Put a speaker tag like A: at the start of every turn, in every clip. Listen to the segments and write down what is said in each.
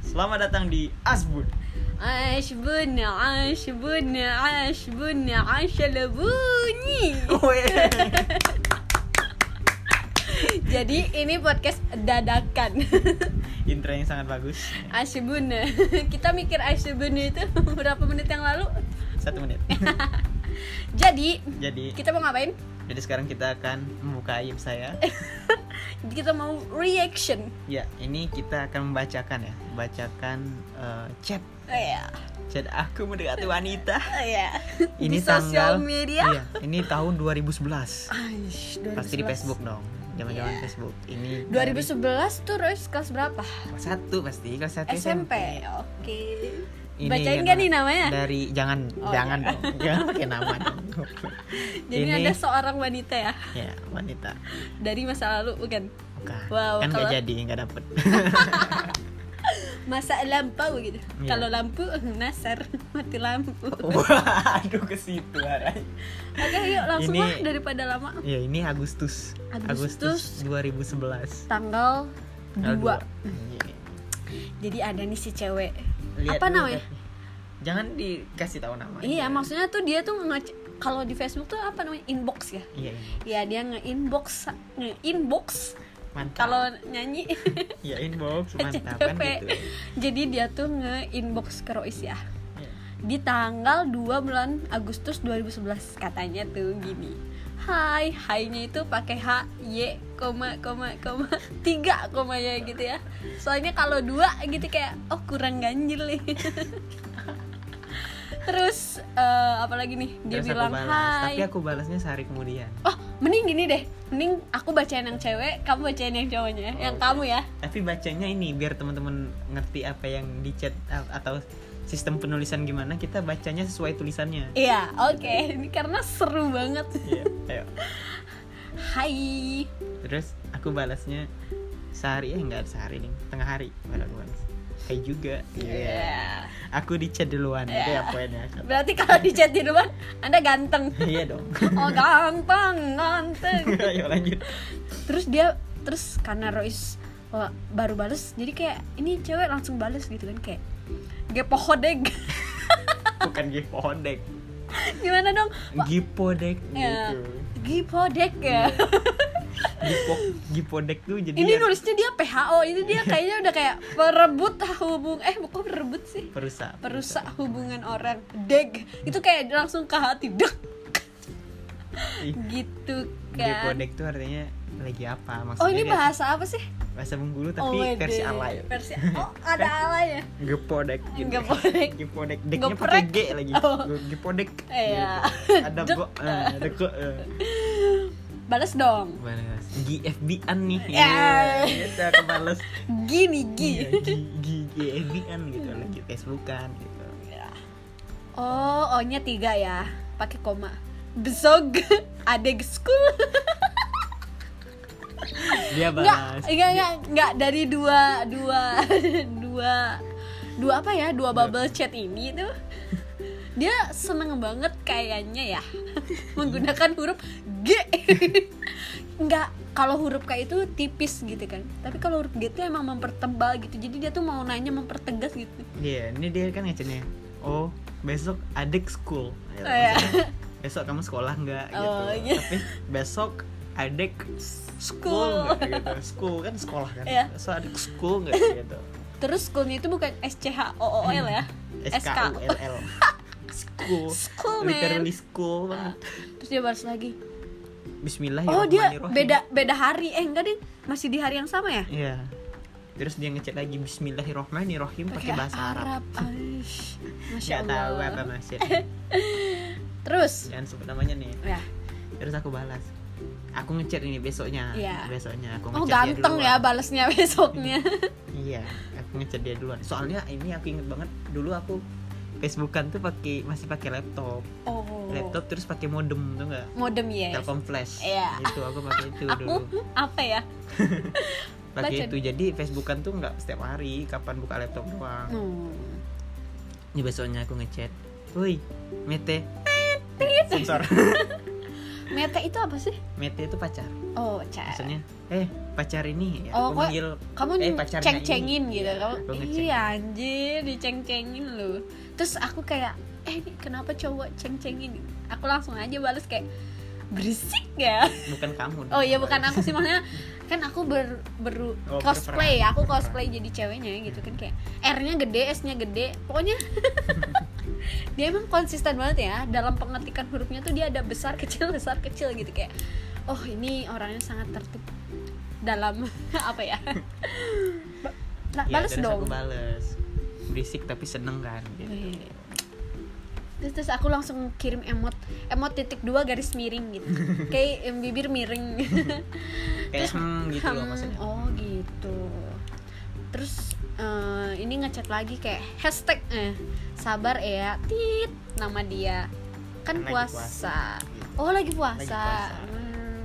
A: Selamat datang di Asbun.
B: Ashbun, ashbun, ashbun, ashal bunyi. Jadi ini podcast dadakan.
A: Intro yang sangat bagus.
B: Ashbun. Kita mikir ashbun itu berapa menit yang lalu.
A: Satu menit.
B: Jadi
A: Jadi,
B: kita mau ngapain?
A: jadi sekarang kita akan membuka aib saya.
B: Eh. Kita mau reaction.
A: Ya, ini kita akan membacakan ya, bacakan eh, chat
B: Oh ya,
A: chat aku mendekati wanita.
B: oh ya.
A: Ini
B: Di sosial
A: tanggal-
B: media. Ah,
A: Iya, ini tahun 2011.
B: Aish,
A: Pasti di
B: 2011.
A: Facebook dong. Zaman-zaman
B: Iya.
A: Facebook. Ini
B: 2011 tuh Royce kelas berapa?
A: kelas satu pasti kelas satu
B: SMP. Oke.
A: Ini
B: Bacain
A: yang
B: gak nih namanya?
A: Dari jangan
B: Oh,
A: jangan dong. Jangan pakai nama dong.
B: Jadi
A: ini
B: ada seorang wanita ya
A: ya wanita.
B: dari masa lalu bukan
A: Bukan.
B: Wow,
A: kan nggak
B: kalau-
A: jadi, nggak dapet
B: masa lampau gitu.
A: Iya.
B: Kalau lampu nasar mati lampu.
A: Waduh ke situ Arai.
B: Oke yuk langsung
A: Ini-
B: lah daripada lama.
A: Ya ini Agustus.
B: Agustus.
A: 2011.
B: Tanggal
A: Tanggal
B: 2
A: dua. Iya.
B: Jadi ada nih si cewek.
A: Lihat
B: Apa
A: dulu, eh.
B: namanya?
A: Kak. Jangan dikasih tahu namanya.
B: Iya maksudnya tuh dia tuh nge kalau di Facebook tuh apa namanya inbox ya?
A: Iya. iya.
B: Ya dia nge-inbox nge-inbox
A: Mantap.
B: kalau nyanyi
A: ya inbox mantap kan
B: CCTV.
A: gitu.
B: Jadi dia tuh nge-inbox ke Rois ya
A: Iya.
B: Di tanggal 2 bulan Agustus 2011 katanya tuh gini Hai, hai-nya itu pakai H, Y, koma, koma, koma, tiga koma ya gitu ya Soalnya kalau dua gitu kayak, oh kurang ganjil nih Terus, eh, apalagi nih, dia
A: Terus aku
B: bilang
A: balas.
B: hai
A: Tapi aku balasnya sehari kemudian.
B: Oh, mending gini deh, mending aku bacain yang cewek, kamu bacain yang cowoknya ya. Yang
A: Oke.
B: kamu ya
A: Tapi bacanya ini biar teman-teman ngerti apa yang di chat a- atau sistem penulisan gimana kita bacanya sesuai tulisannya.
B: Iya, oke, ini karena seru banget
A: Iya, ayo.
B: Hai
A: Terus aku balasnya sehari eh enggak sehari nih, tengah hari baru aku balas. Hai juga. Iya.
B: Iya.
A: Aku di chat duluan. Itu ya poinnya.
B: Berarti kalau di chat di depan Anda ganteng.
A: Iya dong.
B: Oh, ganteng, ganteng.
A: ayo lanjut.
B: Terus dia terus karena Rois wah, baru bales jadi kayak ini cewek langsung bales gitu kan kayak gepohodeg
A: Bukan gipodek.
B: gimana dong
A: Gipodek
B: Ya.
A: gitu. Iya.
B: gipodeg ya
A: Gipok gipodek tuh jadi ya
B: ini nulisnya dia PHO ini dia kayaknya udah kayak perebut hubung eh bukan perebut sih
A: perusak.
B: perusak hubungan orang deg itu kayak langsung ke hati deg
A: Ih,
B: gitu kan
A: Gipodek tuh artinya lagi apa maksudnya?
B: oh ini
A: dia-
B: bahasa apa sih
A: bahasa Bengkulu
B: Oh,
A: tapi
B: wede.
A: versi alay.
B: versi oh ada alaynya
A: Gepodek gitu.
B: Gepodek.
A: Gepodek. Deknya pakai
B: Geprek.
A: G lagi.
B: Oh.
A: Gepodek.
B: Iya.
A: Gitu. Ada
B: Dek.
A: go eh, ada go. eh.
B: balas dong
A: Gimana Mas? GFB-an nih. Iya,
B: Ya.
A: Kita kebales.
B: gini
A: Iya,
B: gi Hmm.
A: G- G- GFB-an gitu lagi Facebookan gitu.
B: oh ohnya tiga ya pakai koma besog adeg school
A: Dia
B: nggak
A: balas.
B: nggak nggak nggak dari dua dua dua dua apa ya dua bubble chat ini tuh dia seneng banget kayaknya ya menggunakan huruf G nggak kalau huruf K itu tipis gitu kan tapi kalau huruf G itu emang mempertebal gitu jadi dia tuh mau nanya mempertegas gitu
A: Iya, ini dia kan ngecatnya. Oh, besok adik school. Ya,
B: Oh, iya.
A: maksudnya, Besok kamu sekolah nggak gitu.
B: Oh, iya.
A: Tapi besok adik school
B: school
A: nggak gitu. School kan sekolah kan.
B: Iya.
A: Besok adik school nggak gitu.
B: terus schoolnya itu bukan S C H O O L ya
A: Hmm. SKULL. School.
B: School, man.
A: Literally school banget.
B: terus dia balas lagi
A: Bismillah ya
B: oh dia beda beda hari eh enggak deh masih di hari yang sama ya
A: Iya. Terus dia ngechat lagi Bismillahirrohmanirrohim pakai bahasa Arab.
B: Aish. Masya
A: Gak tahu
B: Allah.
A: apa masih.
B: Terus
A: Jangan sebut namanya nih.
B: ya.
A: Terus aku balas. Aku ngechat ini besoknya.
B: Iya.
A: Besoknya aku
B: Oh
A: ngechat dia
B: ganteng
A: duluan.
B: ya balesnya besoknya
A: Iya, aku ngechat dia duluan. Soalnya ini aku inget banget dulu aku Facebookan tuh pakai masih pakai laptop.
B: Oh
A: Laptop terus pakai modem tuh enggak?
B: Modem ya
A: Telkom Flash.
B: Iya.
A: Itu aku pakai itu dulu.
B: Aku apa ya
A: Pakai
B: baca
A: itu jadi Facebookan tuh nggak setiap hari, kapan buka laptop doang.
B: hmm.
A: Ini besoknya aku ngechat. Woi, Mete. Sensor.
B: Mete itu apa sih?
A: Mete itu pacar.
B: oh cak
A: Maksudnya, eh pacar ini ya,
B: Oh,
A: aku
B: kok-
A: manggil
B: kamu
A: eh, pacarnya
B: ceng-cengin
A: ini.
B: gitu
A: Iya,
B: kamu
A: aku ngeceng.
B: iya anjir diceng-cengin lu terus aku kayak eh ini kenapa cowok ceng-cengin aku langsung aja balas kayak berisik ya
A: bukan kamu. dong.
B: oh iya bukan aku sih maksudnya kan aku ber, beru-
A: Oh,
B: cosplay ya aku
A: berperan.
B: cosplay jadi ceweknya gitu kan kayak R-nya gede S-nya gede pokoknya dia emang konsisten banget ya dalam pengetikan hurufnya tuh dia ada besar kecil besar kecil gitu kayak oh ini orangnya sangat tertib dalam apa ya nah,
A: Iya,
B: balas
A: terus
B: dong Iya.
A: Aku bales. Berisik tapi seneng kan gitu.
B: Wih. Terus, terus aku langsung kirim emot emot titik dua garis miring gitu kayak em, bibir miring
A: Kayak
B: Terus,
A: hmm, gitu loh
B: Hmm,
A: maksudnya.
B: oh gitu terus eh, ini ngechat lagi kayak hashtag eh sabar ya tit nama dia
A: Kan
B: kan
A: lagi
B: puasa.
A: puasa, gitu.
B: oh lagi puasa,
A: Lagi puasa.
B: Hmm.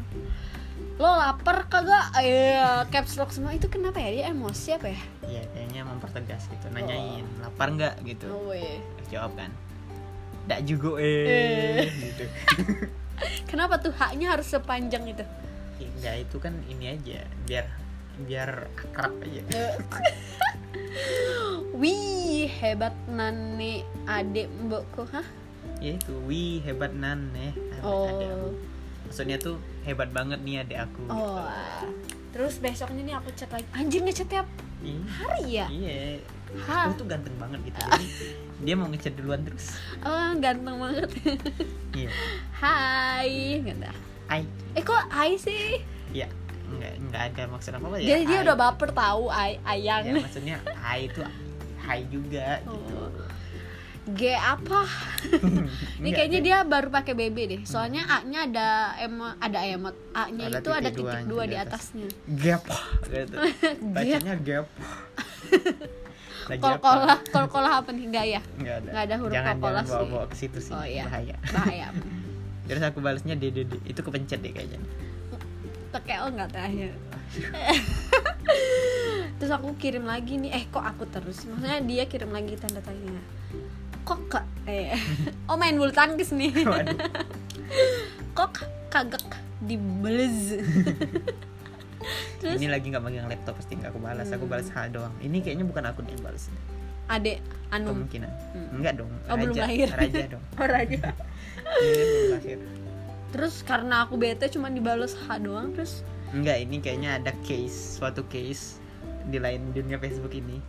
B: lo lapar kagak iya caps lock semua itu kenapa ya dia emosi apa ya
A: Iya, kayaknya mempertegas gitu. Nanyain, lapar nggak gitu.
B: oh, weh.
A: Terus Jawab kan. Nggak juga eh. gitu.
B: kenapa tuh haknya harus sepanjang itu
A: Ya, Enggak itu kan ini aja biar biar akrab aja.
B: wih hebat nane adik mbokku hah
A: Ya itu, wih hebat nan eh. Ada- ada.
B: oh
A: Maksudnya tuh hebat banget nih adek aku. gitu.
B: Oh. Terus besoknya nih aku chat lagi. Anjir ngechat tiap
A: Gitu. Ih,
B: hari ya? Ah.
A: Iya.
B: Ha.
A: Aku tuh ganteng banget gitu. Jadi dia mau ngechat duluan terus.
B: Oh, ganteng banget.
A: Iya.
B: Hai, ganteng.
A: Ai.
B: Eh kok hai sih?
A: Ya, enggak enggak ada maksud apa-apa ya.
B: Dia dia
A: ai.
B: udah baper tahu ai
A: Ya,
B: ayang.
A: maksudnya hai itu hai juga gitu.
B: Oh. G apa? Ini
A: Enggak,
B: kayaknya
A: dia-
B: dia baru pakai BB deh. Soalnya A-nya ada emo, ada emot. A-nya
A: Ada
B: itu ada
A: titik dua
B: titik dua di
A: di atas.
B: atasnya.
A: gap gitu. Bacanya gap. Lagi apa?
B: Kol-kolah, kol-kolah apa nih? ya? Gaya.
A: Enggak ada.
B: Enggak ada huruf
A: jangan,
B: kokolah
A: jangan bawa,
B: sih.
A: bawa ke situ sih.
B: Oh, iya.
A: Bahaya.
B: Bahaya.
A: Terus aku balasnya DDD. Itu kepencet deh kayaknya.
B: Tekeo nggak terakhir Terus aku kirim lagi nih Eh kok aku terus Maksudnya dia kirim lagi tanda tanya Kok kak eh. Oh main bulu tangkis nih
A: Waduh.
B: Kok kagak dibelez Terus Hmm.
A: Ini lagi nggak megang laptop pasti nggak aku balas. Aku balas H doang. Ini kayaknya bukan aku yang balas.
B: adek Anum
A: Kemungkinan.
B: Hmm.
A: Enggak dong.
B: Oh, belum lahir.
A: Raja dong.
B: Oh, Raja.
A: Ini belum lahir.
B: Terus karena aku bete cuman dibales H doang Terus
A: Enggak, ini kayaknya ada case, suatu case di lain dunia Facebook ini.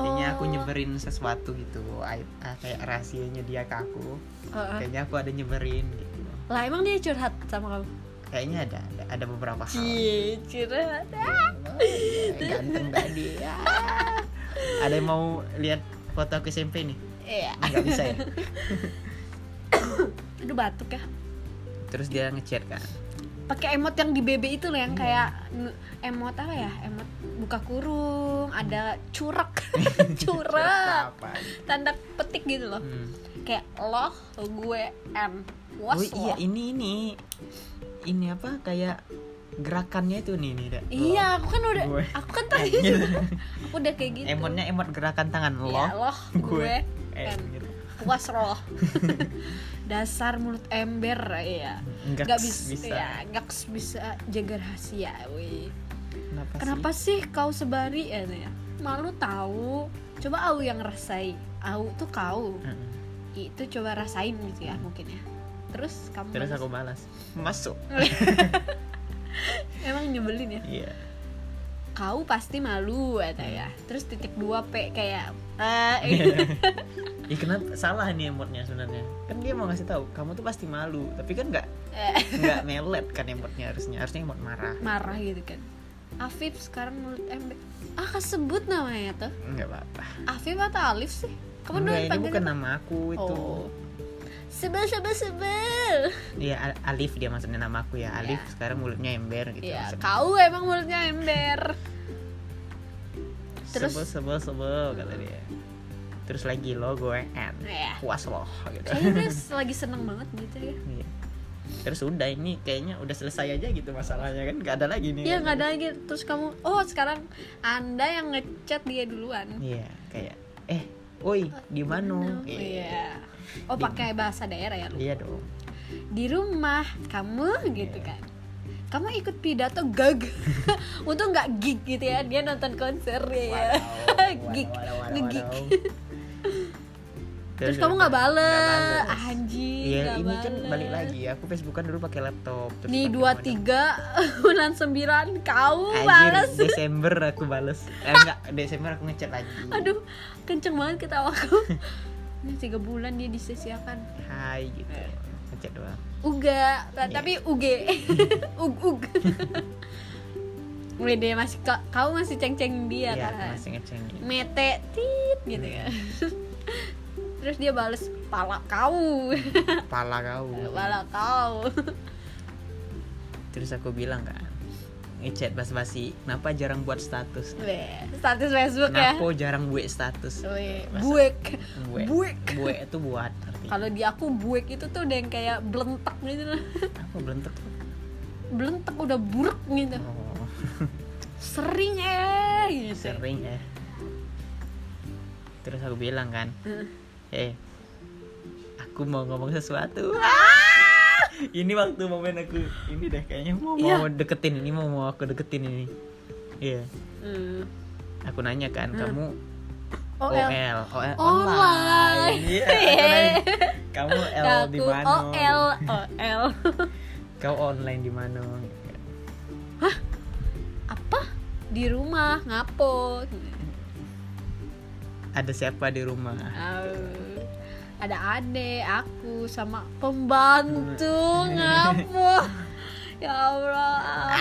A: Kayaknya aku
B: Oh.
A: nyebarin sesuatu gitu, aib, ah, kayak rahasianya dia ke aku.
B: uh,
A: Kayaknya aku ada nyebarin gitu.
B: Lah emang dia curhat sama kamu?
A: Kayaknya ada, ada, ada beberapa hal.
B: Cie, curhat
A: Ganteng tadi. Ah. ada yang mau lihat foto aku SMP nih?
B: Iya
A: Enggak bisa ya.
B: Aduh batuk ya
A: Terus dia ngechat kan.
B: pakai emot yang di BB itu loh yang
A: Iya.
B: kayak nu- emot apa ya emot buka kurung ada curak curak
A: Apa?
B: tanda petik gitu loh
A: Hmm.
B: kayak loh gue m
A: Oh
B: was
A: iya
B: loh.
A: ini ini ini apa kayak gerakannya itu nih nih. Dak.
B: iya aku kan udah
A: Gue.
B: aku kan tadi
A: Gitu.
B: juga aku udah kayak gitu
A: Emotnya emot gerakan tangan lo.
B: ya, loh gue
A: eh,
B: em
A: gitu.
B: was loh dasar mulut ember ya
A: Nggak
B: nggak bisa,
A: bisa.
B: ya nggak bisa jaga rahasia weh
A: Kenapa,
B: Kenapa
A: sih?
B: sih kau sebari ya? Naya? Malu tahu. Coba au yang rasai. Au tuh kau.
A: Mm-mm.
B: Itu coba rasain gitu ya mungkin ya. Terus kamu
A: Terus
B: balas.
A: aku balas. Masuk.
B: Mm. emang nyebelin ya.
A: Iya.
B: Kau pasti malu kata ya.
A: Hmm.
B: Terus titik dua p kayak eh
A: Ya kenapa salah nih emotnya sebenarnya? Kan dia mau ngasih tahu kamu tuh pasti malu, tapi kan nggak
B: eh,
A: nggak melet kan emotnya harusnya. Harusnya emot marah.
B: marah gitu kan. Afif sekarang mulut ember. Ah kesebut namanya tuh.
A: Enggak apa-apa.
B: Afif atau Alif sih? Kamu
A: Nggak,
B: dulu
A: ini bukan nama aku itu.
B: Oh. Sebel sebel sebel.
A: Iya, Al- Alif dia maksudnya nama aku ya. Alif
B: Iya.
A: sekarang mulutnya ember gitu.
B: Iya,
A: maksudnya.
B: kau emang mulutnya ember. Terus-
A: sebel sebel sebel kata dia terus lagi lo gue and
B: Ya.
A: puas lo gitu
B: Kayaknya dia lagi seneng banget gitu ya.
A: Iya. terus udah ini kayaknya udah selesai aja gitu masalahnya kan nggak ada lagi nih
B: Iya nggak ada lagi. Terus kamu, oh sekarang anda yang ngechat dia duluan.
A: iya kayak eh oi di mana gitu.
B: Oh, Iya. Oh pakai bahasa daerah ya lu.
A: iya dong
B: Di rumah kamu gitu
A: Iya.
B: kan. kamu ikut pidato gag untung nggak gig gitu ya dia nonton konser ya gig ngegig terus kamu nggak bales anjing
A: Iya
B: nggak
A: ini kan
B: bales.
A: balik lagi aku Facebookan dulu pakai laptop terus
B: nih
A: pakai
B: dua
A: mana.
B: tiga bulan sembilan kau
A: Anjir,
B: bales
A: Desember aku bales eh, enggak Desember aku ngechat lagi
B: aduh kenceng banget ketawaku ini tiga bulan dia disesiakan
A: hai gitu
B: Eh.
A: ngechat doang
B: Uga, ta-
A: Iya.
B: tapi uge, ug ug. Wede masih ka- kau masih ceng-cengin dia
A: Iya, aku
B: kan.
A: masih ngecengin
B: Mete tit gitu ya. Terus dia bales pala kau,
A: kepala kau
B: pala kau.
A: terus aku bilang kan ngechat basa-basi kenapa jarang buat status
B: Weh, status Facebook ya.
A: kenapa jarang buat status
B: Weh,
A: Masa-
B: buek.
A: buek
B: Buek.
A: buek itu buat artinya.
B: Kalau di aku buek itu tuh udah yang kayak belentak gitu lah.
A: apa belentuk
B: Belentak udah buruk gitu.
A: oh,
B: Sering eh gitu.
A: sering ya terus aku bilang kan
B: Heeh.
A: eh aku mau ngomong sesuatu Ah! ini waktu momen aku ini deh kayaknya mau
B: Iya.
A: mau deketin ini mau mau aku deketin ini iya
B: Hmm.
A: aku nanya kan kamu
B: OL.
A: OL OL
B: Online.
A: online Iya, aku nanya, kamu L di
B: Aku
A: mana
B: OL OL
A: kau online di mana
B: apa di rumah ngapo
A: ada siapa di rumah
B: Au. ada ade aku sama pembantu ngapo ya Allah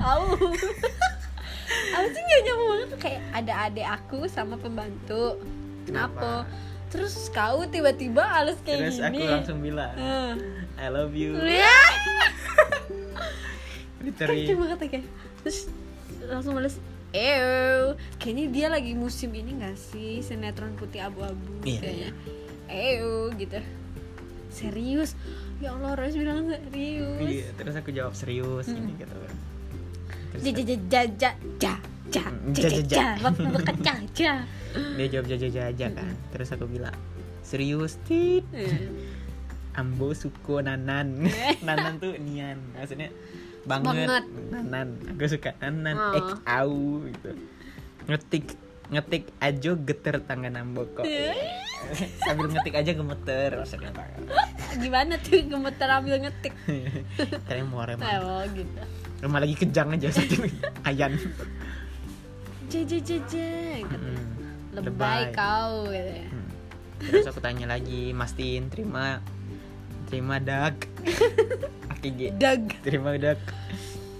B: Au Aku sih gak nyambung banget Kayak ada adik aku sama pembantu Kenapa?
A: Kenapa?
B: Terus kau tiba-tiba alis kayak
A: terus aku
B: gini
A: langsung bilang
B: Eh.
A: I love you
B: Lihat.
A: Literally
B: kenceng Iya. banget ya kayak. terus langsung balas Ew, kayaknya dia lagi musim ini gak sih sinetron putih abu-abu
A: Iya,
B: kayaknya. Ew gitu. Serius. Ya Allah, harus bilang serius.
A: Iya, terus aku jawab serius ini gitu terus
B: Ja ja ja ja ja ja ja
A: Mm, ja,
B: ja ja
A: ja,
B: ja
A: ja.
B: waktu bukan ja ja.
A: dia jawab jaja aja kan terus aku bilang serius tit
B: Eh,
A: ambo suko nanan nanan tuh nian maksudnya banget,
B: Banget.
A: nanan aku suka nanan
B: Oh.
A: ek au gitu ngetik ngetik aja geter tangan ambo kok
B: Iya.
A: sambil ngetik aja gemeter maksudnya
B: Gimana tuh gemeter ambil ngetik?
A: tremor emang
B: Ew gitu.
A: rumah lagi kejang aja satu ayan
B: Ja ja ja ja. gitu.
A: Mm,
B: Lebay kau gitu ya.
A: Hmm. Terus aku tanya lagi, Mastin terima terima dak. AKG.
B: Dag.
A: Terima dak.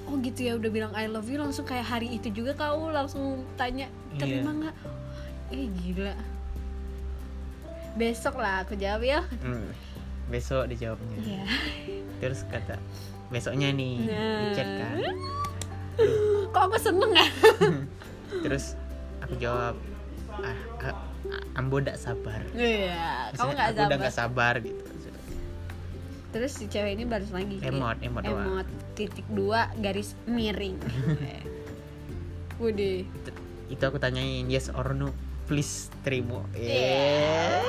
B: oh gitu ya udah bilang I love you langsung kayak hari itu juga kau langsung tanya terima
A: Iya.
B: nggak eh gila besok lah aku jawab ya
A: Hmm. Besok dijawabnya.
B: Iya.
A: Terus kata besoknya nih
B: Nah.
A: di chat kan.
B: kok aku seneng ya
A: Terus aku jawab ah, ah, Ambo dak sabar.
B: iya kamu
A: Maksudnya, aku
B: nggak
A: udah
B: sabar
A: nggak sabar gitu.
B: terus si cewek ini balas lagi kayak,
A: Emot, emot doang.
B: Iya, emot titik dua garis miring Wede
A: T- Itu aku tanyain yes or no, please terima.
B: Iya.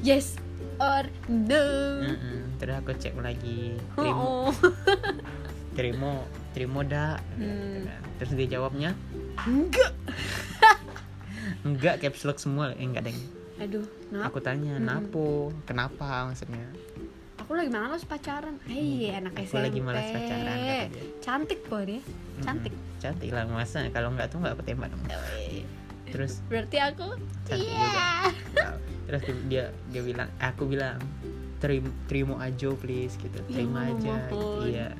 B: yes or no
A: Mm-mm. Terus aku cek lagi. Terima
B: oh, oh.
A: terima terima dak
B: Hmm.
A: terus dia jawabnya
B: enggak
A: enggak caps lock semua eh, enggak deng
B: aduh kenapa
A: aku tanya
B: Hmm.
A: napo kenapa maksudnya
B: aku lagi malas pacaran hei Iya, anak
A: Hmm, Iya, Aku
B: SMP
A: lagi malas pacaran, kata dia.
B: cantik kok dia
A: Mm-mm.
B: cantik Oh, iya,
A: cantik lah masa kalau enggak tuh enggak aku tembak dong terus
B: berarti aku
A: Cantik
B: iya
A: nah, terus dia dia bilang eh, aku bilang terima terima aja please gitu
B: Ya
A: terima
B: Allah,
A: aja
B: mohon.
A: iya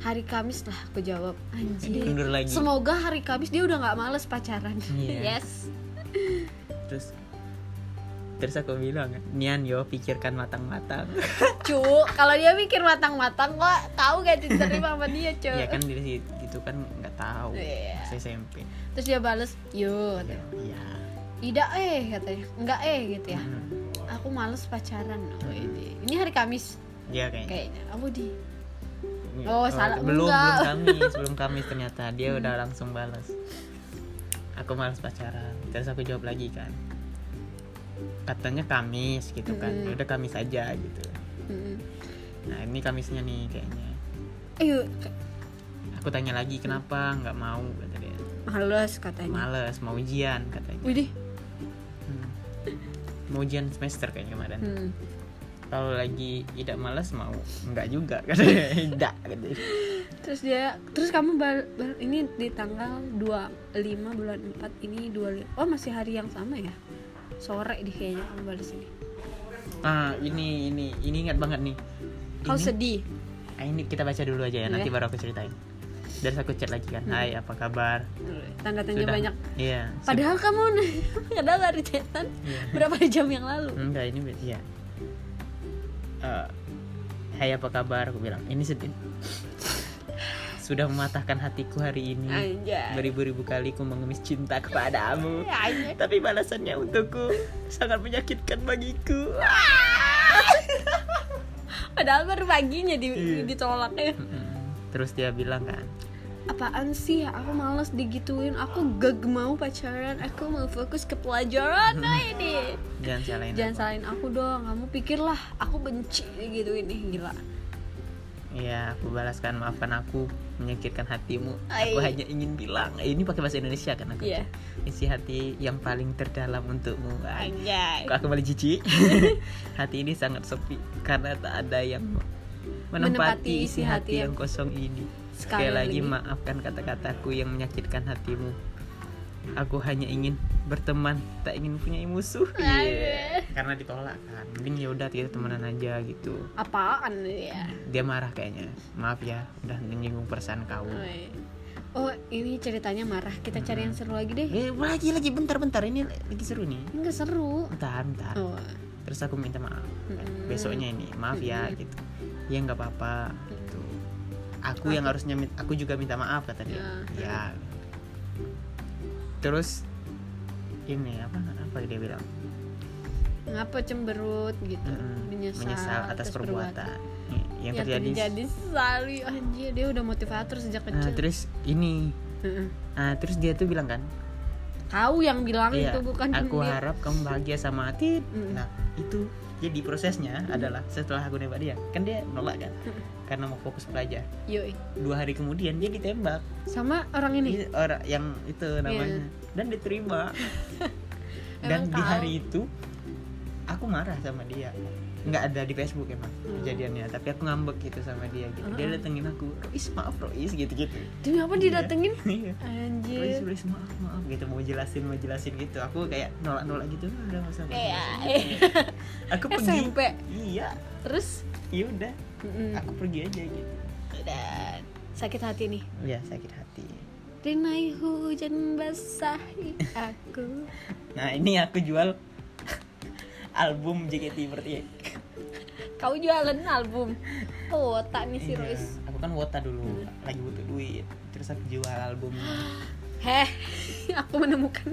B: hari Kamis lah aku jawab anjir
A: mundur lagi
B: semoga hari Kamis dia udah nggak malas pacaran
A: Iya.
B: yes
A: terus terus aku bilang nian yo pikirkan matang-matang
B: cu kalau dia mikir matang-matang kok tahu gak diterima sama dia cu
A: ya kan dari situ kan nggak tahu
B: Iya.
A: Pas SMP
B: terus dia bales yuk
A: Ya, iya
B: tidak eh katanya enggak eh gitu ya
A: Hmm.
B: aku males pacaran oh, ini ini hari Kamis
A: Iya kayaknya
B: kayaknya aku di
A: Oh,
B: Oh, salah.
A: belum
B: Enggak.
A: belum Kamis, belum Kamis ternyata dia udah langsung balas. Aku malas pacaran. Terus aku jawab lagi kan. Katanya Kamis gitu kan.
B: Mm-mm.
A: Ya udah Kamis aja gitu.
B: Mm-mm.
A: nah ini kamisnya nih kayaknya
B: Ayo,
A: aku tanya lagi kenapa nggak mau kata dia
B: males katanya.
A: males mau ujian katanya
B: Widih.
A: Hmm. mau ujian semester kayaknya kemarin
B: Hmm.
A: kalau lagi tidak malas mau nggak juga katanya tidak katanya
B: Terus dia, terus kamu bal- bal- ini di tanggal 25 bulan 4 ini 25. Oh, masih hari yang sama ya? Sore di kayaknya kamu balas ini.
A: ah ini ini ini ingat banget nih
B: Kau
A: ini,
B: sedih.
A: ah, ini kita baca dulu aja ya nanti
B: Iya.
A: baru aku ceritain terus aku chat lagi kan Hai apa kabar
B: Tanda tanya banyak.
A: iya sudah-
B: Padahal kamu padahal dari chatan
A: iya.
B: berapa jam yang lalu.
A: enggak ini be- iya Eh, Hai apa kabar aku bilang ini sedih sudah mematahkan hatiku hari ini
B: Anjay. Ya,
A: Beribu-ribu kali ku mengemis cinta kepadamu
B: Anjay.
A: Tapi balasannya untukku sangat menyakitkan bagiku
B: Padahal baru paginya di,
A: Iya.
B: ditolaknya.
A: Terus dia bilang kan
B: Apaan sih? Aku males digituin. Aku gak mau pacaran. Aku mau fokus ke pelajaran nah ini.
A: Jangan salahin
B: Jangan
A: aku."
B: salahin aku dong. Kamu pikirlah aku benci digituin nih gila.
A: Iya aku balaskan maafkan aku menyakitkan hatimu Aku
B: Ai.
A: hanya ingin bilang Eh, Ini pakai bahasa Indonesia kan aku
B: Iya.
A: Isi hati yang paling terdalam untukmu Ai.
B: Anjay.
A: Kok aku kembali jijik Hati ini sangat sepi Karena tak ada yang Menempati isi hati yang kosong ini Sekali,
B: Sekali
A: lagi,
B: lagi.
A: maafkan kata-kataku yang menyakitkan hatimu Aku hanya ingin berteman Tak ingin punya musuh Iya.
B: Aduh.
A: Karena ditolak kan Mending yaudah kita temenan aja gitu
B: Apaan ya?
A: Dia marah kayaknya Maaf ya udah menyinggung perasaan kau
B: Oi. Oh, ini ceritanya marah. Kita cari yang seru lagi deh.
A: Eh lagi lagi bentar-bentar Ini lagi seru nih
B: Ini nggak seru.
A: Bentar bentar
B: Oh.
A: terus aku minta maaf
B: Mm-mm.
A: besoknya ini maaf ya gitu ya nggak apa-apa gitu aku yang harusnya min- aku juga minta maaf kata dia ya terus ini apa apa dia bilang
B: Ngapa cemberut gitu?
A: Mm-mm.
B: Menyesal,
A: atas perbuatan Iya, yang terjadi
B: jadi sali anjir dia udah motivator sejak
A: Nah,
B: kecil.
A: terus ini
B: Heeh.
A: Nah, terus dia tuh bilang kan
B: Kau yang bilang
A: Iya,
B: itu bukan
A: aku
B: dia.
A: harap kamu bahagia sama Atit.
B: Mm.
A: Nah, itu jadi prosesnya adalah setelah aku nembak dia, kan dia nolak kan? Karena mau fokus belajar.
B: Yoi.
A: Dua hari kemudian dia ditembak.
B: Sama orang ini. Iya.
A: Ini orang yang itu namanya dan diterima. dan
B: Emang
A: di
B: tahu.
A: hari itu aku marah sama dia. nggak ada di Facebook emang
B: Mm.
A: kejadiannya, tapi aku ngambek gitu sama dia gitu. Dia datengin aku, "Rois, maaf Rois" gitu-gitu.
B: Demi apa didatengin?
A: Iya. Rois,
B: Anjir.
A: Rois, maaf, maaf gitu mau jelasin, mau jelasin gitu. Aku kayak nolak-nolak gitu, udah nggak usah. nggak usah."
B: Iya.
A: Aku pergi.
B: SMP.
A: Iya,
B: Terus
A: iya udah.
B: Mm-mm.
A: Aku pergi aja gitu.
B: Dan sakit hati nih.
A: Ya sakit hati.
B: Rinai hujan basahi aku.
A: Nah ini aku jual album JKT48
B: Kau jualan album. Oh, tak nih si Rois.
A: Aku kan wota dulu, lagi butuh duit Terus aku jual albumnya
B: Heh, aku menemukan.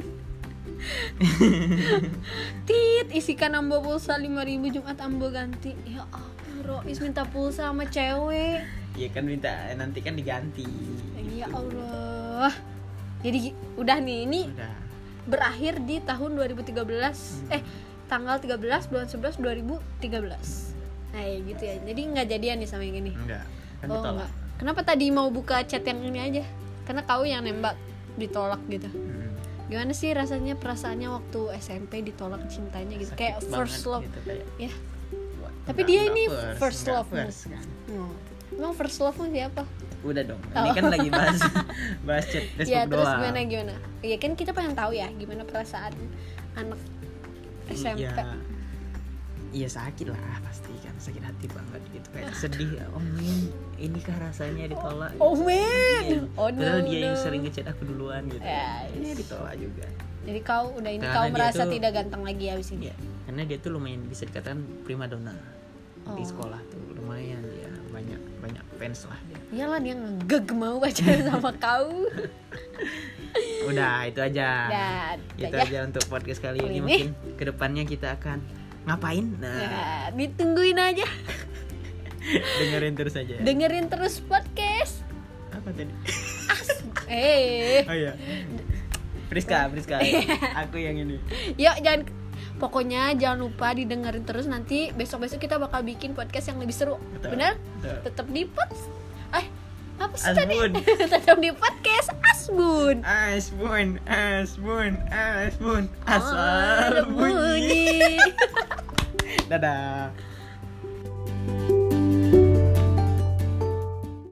B: Tit, isikan ambo pulsa 5000 Jumat ambo ganti. Ya Allah, Rois minta pulsa sama cewek.
A: Ya kan minta, nanti kan diganti
B: Ya Allah. Jadi gi- udah nih ini
A: Udah
B: berakhir di tahun 2013.
A: Hmm.
B: Eh, tanggal 13 bulan 11 2013. Nah, ya gitu ya. Jadi nggak jadian nih sama yang ini.
A: Enggak, kan
B: Oh,
A: ditolak
B: enggak. Kenapa tadi mau buka chat yang ini aja? Karena kau yang nembak ditolak gitu.
A: Mm-mm.
B: Gimana sih rasanya perasaannya waktu SMP ditolak cintanya gitu?
A: Sakit
B: Kayak
A: banget
B: first love.
A: gitu, kayak,
B: Ya.
A: wah,
B: Tapi
A: enggak-
B: dia
A: enggak
B: ini first
A: enggak
B: love-mu.
A: first kan.
B: Hmm. Emang first love mu siapa?
A: Udah dong, ini kan lagi bahas bahas chat Facebook
B: ya, Oh. terus
A: doang.
B: gimana gimana? Ya kan kita pengen tahu ya gimana perasaan anak SMP.
A: Iya. Iya sakit lah pasti kan sakit hati banget gitu kayak sedih ya oh men ini kah rasanya ditolak
B: Oh man.
A: Iya.
B: Oh no.
A: Padahal dia yang
B: no.
A: sering ngechat aku duluan gitu
B: Ya,
A: ini ditolak juga
B: Jadi kau udah ini
A: Karena
B: kau
A: dia
B: merasa
A: tuh-
B: tidak ganteng lagi abis ini.
A: Iya, karena dia tuh lumayan bisa dikatakan prima donna di
B: Oh.
A: sekolah tuh lumayan dia banyak banyak fans lah dia.
B: Iyalah dia ngegeg mau pacaran sama kau.
A: udah itu aja itu
B: Dan ya.
A: Ah, gitu aja untuk podcast kali
B: Kali
A: ini
B: ini.
A: mungkin kedepannya kita akan ngapain nah
B: Ya, ditungguin aja.
A: dengerin terus aja ya.
B: Dengerin terus podcast.
A: apa tadi
B: Eh,
A: oh iya Priska Priska aku yang ini
B: yuk jangan Pokoknya jangan lupa didengerin terus nanti besok-besok kita bakal bikin podcast yang lebih seru.
A: Betul.
B: Benar?
A: Betul.
B: Tetap di pod. Eh, apa sih tadi?
A: Asbun.
B: Tetap di podcast Asbun.
A: Asbun, asbun, asbun, asal Ah,
B: Asal
A: bunyi.
B: bunyi.
A: Dadah.